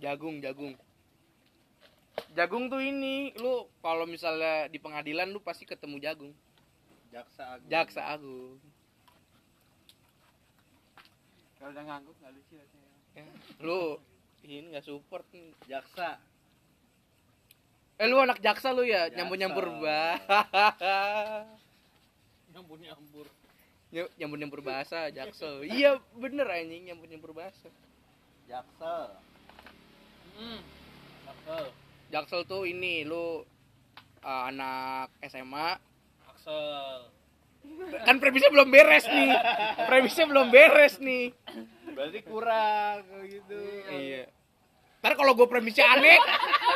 Jagung, jagung. Jagung tuh ini, lu kalau misalnya di pengadilan lu pasti ketemu jagung. Jaksa Agung. Jaksa Agung. Kalau udah ngangguk nggak lucu rasanya. Ya. Lu ini nggak support nih. Jaksa. Eh lu anak jaksa lu ya, Jaksa. nyambur-nyambur bah. Nyampur nyampur. Ny- nyambur-nyambur bahasa jaksa. iya, bener anjing nyambur-nyambur bahasa. Jaksel. Hmm. Axel, Jaksel tuh ini lu uh, anak SMA Axel. kan premisnya belum beres nih premisnya belum beres nih Berarti kurang kayak gitu. iya ntar kalau gue premisnya aneh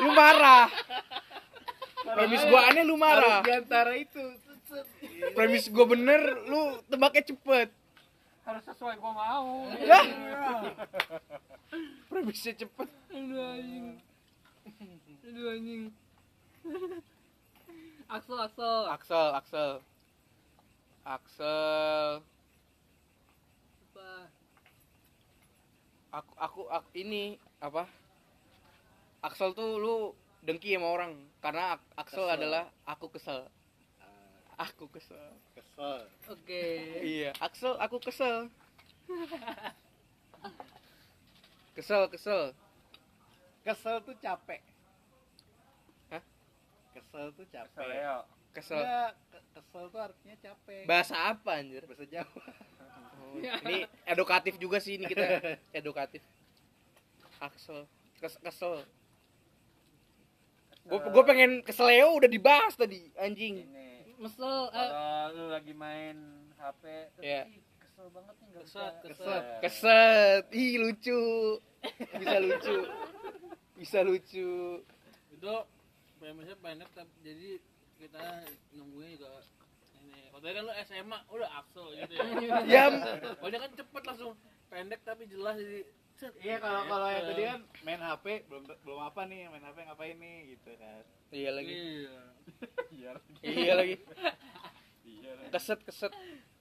lu marah premis gue aneh lu Harus marah di antara itu. Set, set. premis gue bener lu tebaknya cepet Harus sesuai gua mau. Lah. Eh. Eh, premisnya cepet Aduh anjing. Aduh anjing. Axel, Axel. Axel Axel Axel Apa? aku aku, aku ini apa Axel tuh lu dengki sama orang karena Ak- Axel Kesel. adalah aku kesel Ah, aku kesel Kesel. Oke. Iya, Axel aku kesel. Kesel, kesel. Kesel tuh capek. Hah? Kesel tuh capek. Seleo. Kesel. Enggak, ke- kesel tuh artinya capek. Bahasa apa anjir? Bahasa Jawa. Oh, Ini edukatif juga sih ini kita. Edukatif. Axel. Kes- kesel. Gue gue pengen keseleo udah dibahas tadi anjing. Ini. Mesel, eh, Kalau lu lagi main HP, terus Iya. ih, kesel banget nih nggak Keset, bisa. keset. Keset. Ih lucu. Bisa lucu. Bisa lucu. itu premisnya pendek tapi jadi kita nunggunya juga ini. Kalau tadi kan lu SMA, udah Axel gitu ya. Iya. Ya Kalau dia kan cepet langsung pendek tapi jelas jadi set. Iya kalau kalau yang tadi kan main HP belum belum apa nih main HP ngapain nih gitu kan. iya lagi. Iya. Iya. Iya lagi. Iya. Keset, keset.